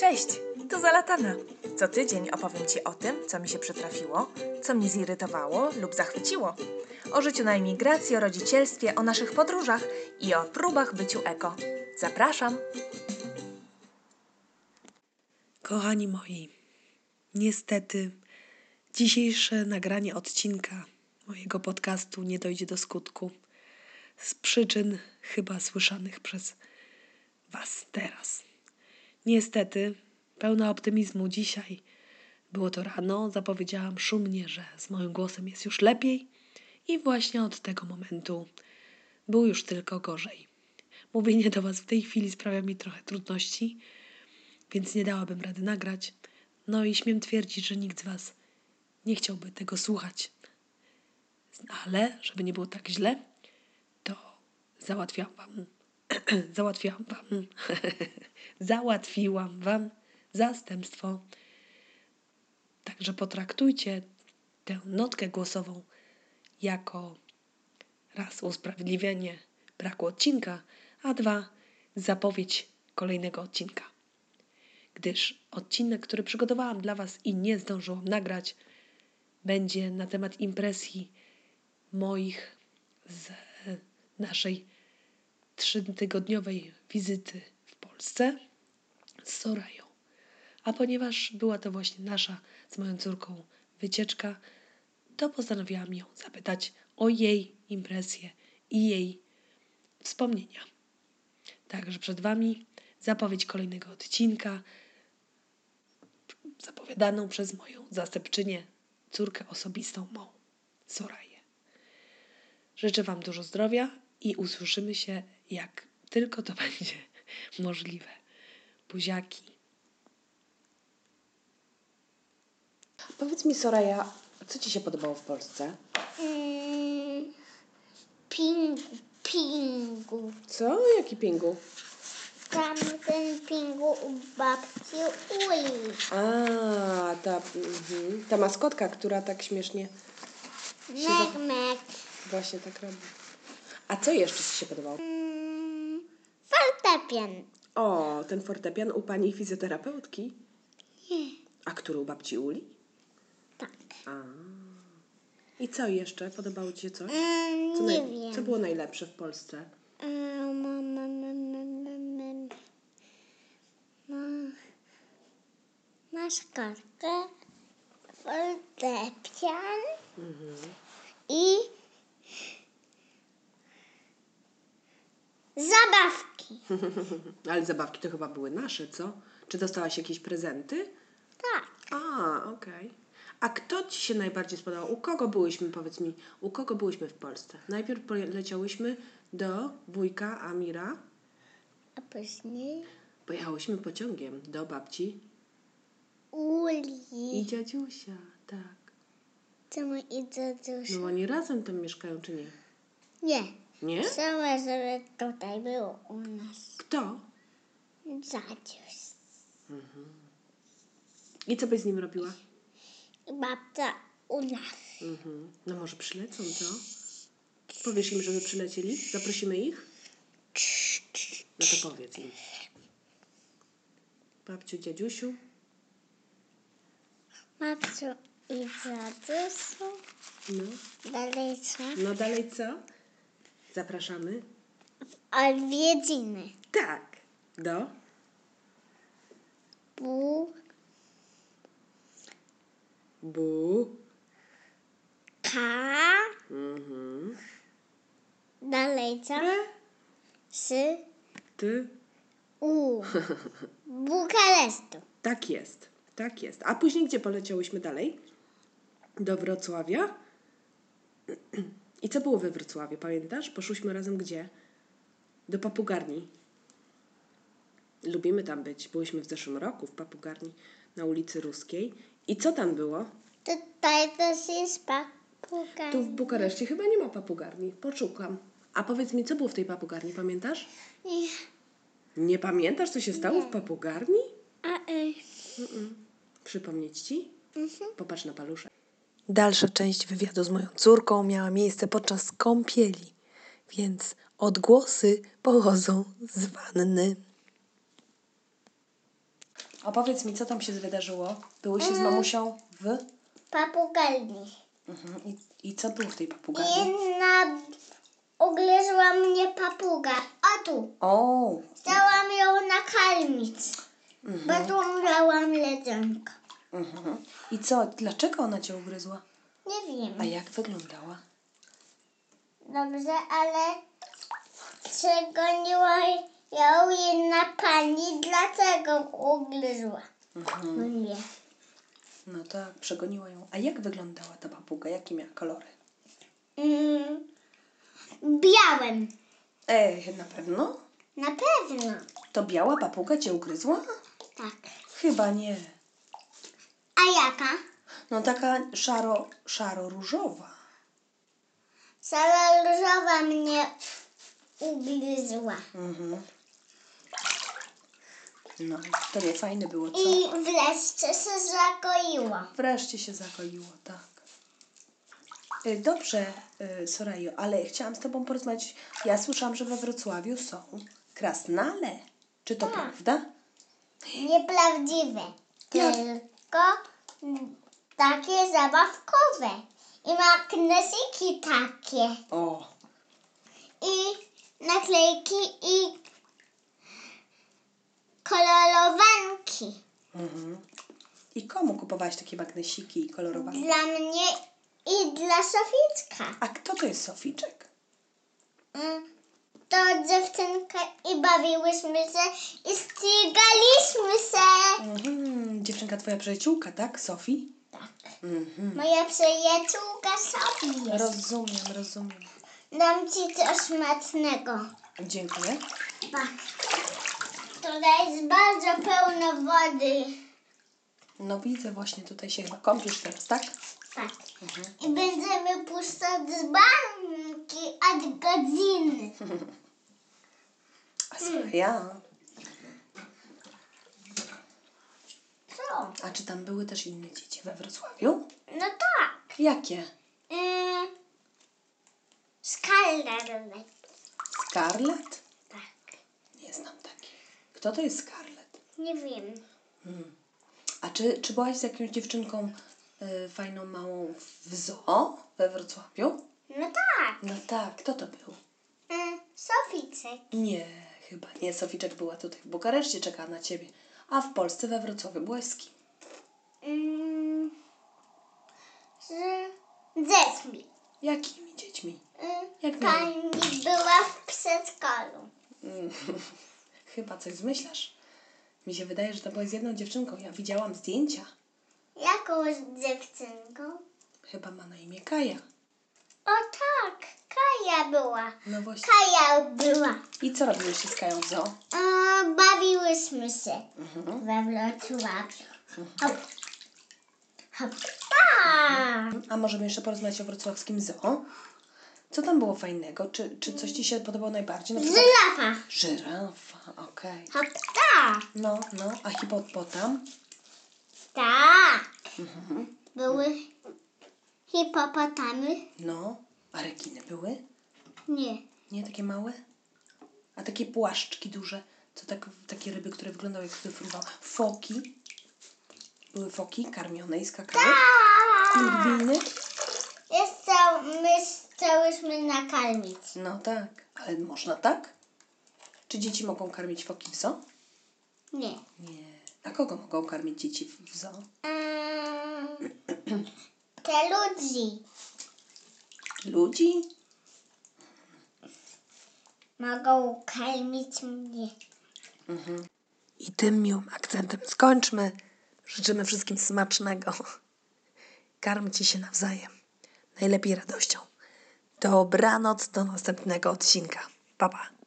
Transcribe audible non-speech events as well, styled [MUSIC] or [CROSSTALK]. Cześć, tu Zalatana. Co tydzień opowiem Ci o tym, co mi się przytrafiło, co mnie zirytowało lub zachwyciło. O życiu na emigracji, o rodzicielstwie, o naszych podróżach i o próbach byciu eko. Zapraszam! Kochani moi, niestety dzisiejsze nagranie odcinka mojego podcastu nie dojdzie do skutku z przyczyn chyba słyszanych przez Was teraz. Niestety, pełna optymizmu dzisiaj. Było to rano, zapowiedziałam szumnie, że z moim głosem jest już lepiej i właśnie od tego momentu było już tylko gorzej. Mówienie do Was w tej chwili sprawia mi trochę trudności, więc nie dałabym rady nagrać. No i śmiem twierdzić, że nikt z Was nie chciałby tego słuchać. Ale, żeby nie było tak źle, to załatwiłam Wam, [CLEARS THROAT] załatwiłam Wam, [LAUGHS] załatwiłam Wam zastępstwo. Także potraktujcie tę notkę głosową jako raz usprawiedliwienie braku odcinka, a dwa zapowiedź kolejnego odcinka gdyż odcinek, który przygotowałam dla Was i nie zdążyłam nagrać, będzie na temat impresji moich z e, naszej trzytygodniowej wizyty w Polsce z Sorają. A ponieważ była to właśnie nasza z moją córką wycieczka, to postanowiłam ją zapytać o jej impresję i jej wspomnienia. Także przed Wami zapowiedź kolejnego odcinka, zapowiadaną przez moją zastępczynię, córkę osobistą mą, Soraję. Życzę Wam dużo zdrowia i usłyszymy się, jak tylko to [LAUGHS] będzie możliwe. Buziaki. Powiedz mi, Soraya, co Ci się podobało w Polsce? Mm, Ping, pingu. Co? Jaki pingu? Tam ten pingu u babci Uli. A, ta, mhm, ta maskotka, która tak śmiesznie Mek, mek. właśnie tak robi. A co jeszcze Ci się podobało? Mm, Fortepian. O, ten fortepian u pani fizjoterapeutki. A który u babci Uli? Tak. I co jeszcze? Podobało Ci się coś? Mm, Co, nie naj- wiem. co było najlepsze w Polsce? A, ma, ma, ma, ma, ma, ma. Ma- Masz kartkę, fortepian i zabawki. Ale zabawki to chyba były nasze, co? Czy dostałaś jakieś prezenty? Tak. A, okej. A kto ci się najbardziej spodobał? U kogo byłyśmy, powiedz mi, u kogo byłyśmy w Polsce? Najpierw poleciałyśmy do wujka Amira, A później pojechałyśmy pociągiem do babci uli. i dziadziusia, tak. Czemu idę już? No oni razem tam mieszkają, czy nie? Nie. Nie? Chciałam, żeby tutaj było u nas. Kto? Zadziuś. I co byś z nim robiła? I babcia u nas. Mhm. No może przylecą, co? Powiesz im, żeby przylecieli? Zaprosimy ich? No to powiedz im. Babciu, dziadziusiu, Babciu i zadziusiu. no. Dalej co? No dalej co? Zapraszamy. Odwiedziny. Tak. Do? Bu, Bu. ka. Dalej co? Re. Sy, Ty. u. Bukarestu. Tak jest. Tak jest. A później gdzie poleciałyśmy dalej? Do Wrocławia. [CLEARS THROAT] I co było we Wrocławiu, pamiętasz? Poszłyśmy razem gdzie? Do papugarni. Lubimy tam być. Byłyśmy w zeszłym roku w papugarni na ulicy Ruskiej. I co tam było? Tutaj też jest papuga. Tu w Bukareszcie chyba nie ma papugarni. Poszukam. A powiedz mi, co było w tej papugarni, pamiętasz? I- Nie pamiętasz, co się stało w papugarni? A, y, Przypomnieć ci? Popatrz na paluszek. Dalsza część wywiadu z moją córką miała miejsce podczas kąpieli, więc odgłosy pochodzą z wanny. Opowiedz mi, co tam się wydarzyło. Byłyście z mamusią w... papugalni. Mhm. I, I co było w tej papugarni? Jedna ugryzła mnie papuga. O tu, O, chciałam ją nakarmić, bo tu miałam ledzonko. mhm. I co, dlaczego ona cię ugryzła? Nie A wiem. jak wyglądała? Dobrze, ale przegoniła ją jedna pani, dlatego ugryzła mnie. No tak, przegoniła ją. A jak wyglądała ta papuga? Jakie miała kolory? Mm, białym, Ej, na pewno? na pewno. To biała papuga cię ugryzła? Tak. Chyba nie. A jaka? No taka szaro, szaro-różowa. Sala różowa mnie ugryzła. Mhm. No, to nie fajne było, co? I wreszcie się zakoiło. Wreszcie się zakoiło, tak. Y, Dobrze, y, Sorajo, ale chciałam z Tobą porozmawiać. Ja słyszałam, że we Wrocławiu są krasnale. Czy to prawda? Nieprawdziwe. Ja- Tylko mm, takie zabawkowe. I ma knesiki takie. O, I naklejki i kolorowanki. mhm. I komu kupowałaś takie magnesiki i kolorowe? Dla mnie i dla Soficka. A kto to jest Soficzek? Mm, To dziewczynka i bawiłyśmy się i ścigaliśmy się. Mhm. Dziewczynka twoja przyjaciółka, tak? Sofii? Mhm. Moja przyjaciółka Sofi jest. Rozumiem, rozumiem. Dam ci coś smacznego. Dziękuję. Pa. Tutaj jest bardzo pełno wody. No widzę, właśnie tutaj się chyba kąpisz teraz, tak? Tak. I będziemy puszczać dzbanki od godziny. A Soraya, Co? a czy tam były też inne dzieci we Wrocławiu? No tak. Jakie? Yy, Skalne Scarlet? Tak. Nie znam takiej. Kto to jest Scarlet? Nie wiem. A czy, czy byłaś z jakąś dziewczynką y, fajną, małą w zoo we Wrocławiu? No tak. No tak, kto to był? Yy, Soficek. Nie, chyba nie. Soficzek była tutaj w Bukareszcie, czekała na ciebie. A w Polsce we Wrocławiu byłaś z kim? Yy, z dziećmi. Jakimi dziećmi? Yy, Jak miło. pani była w przedszkolu. Mm, [LAUGHS] chyba coś zmyślasz. Mi się wydaje, że to byłaś z jedną dziewczynką. Ja widziałam zdjęcia. Jaką dziewczynką? Chyba ma na imię Kaja. O tak, Kaja była. No właśnie. Kaja była. I co robiłyście z Kają w zoo? E, bawiłyśmy się we Wrocławiu. Hop. Hop. Tak. A możemy jeszcze porozmawiać o wrocławskim zoo? Co tam było fajnego? Czy, czy coś Ci się podobało najbardziej? Na przykład Żyrafa. żyrafa, okej. Hop. Tak. No, no, a hipopotam? Tak. Były hipopotamy? No. A rekiny były? Nie. Nie, takie małe? A takie płaszczki duże? Co tak, takie ryby, które wyglądały jak fryfruwa? Foki? Były foki karmione i skakały? Tak. Pingwiny? Jeszcze my chciałyśmy nakarmić. No tak. Ale można tak? Czy dzieci mogą karmić foki w zoo? Nie. Nie. A kogo mogą karmić dzieci w w zoo? Ehm, te ludzi Ludzi? mogą karmić mnie. I tym miłym akcentem skończmy. Życzymy wszystkim smacznego. Karmcie się nawzajem. Najlepiej radością. Dobranoc do następnego odcinka. Pa, pa.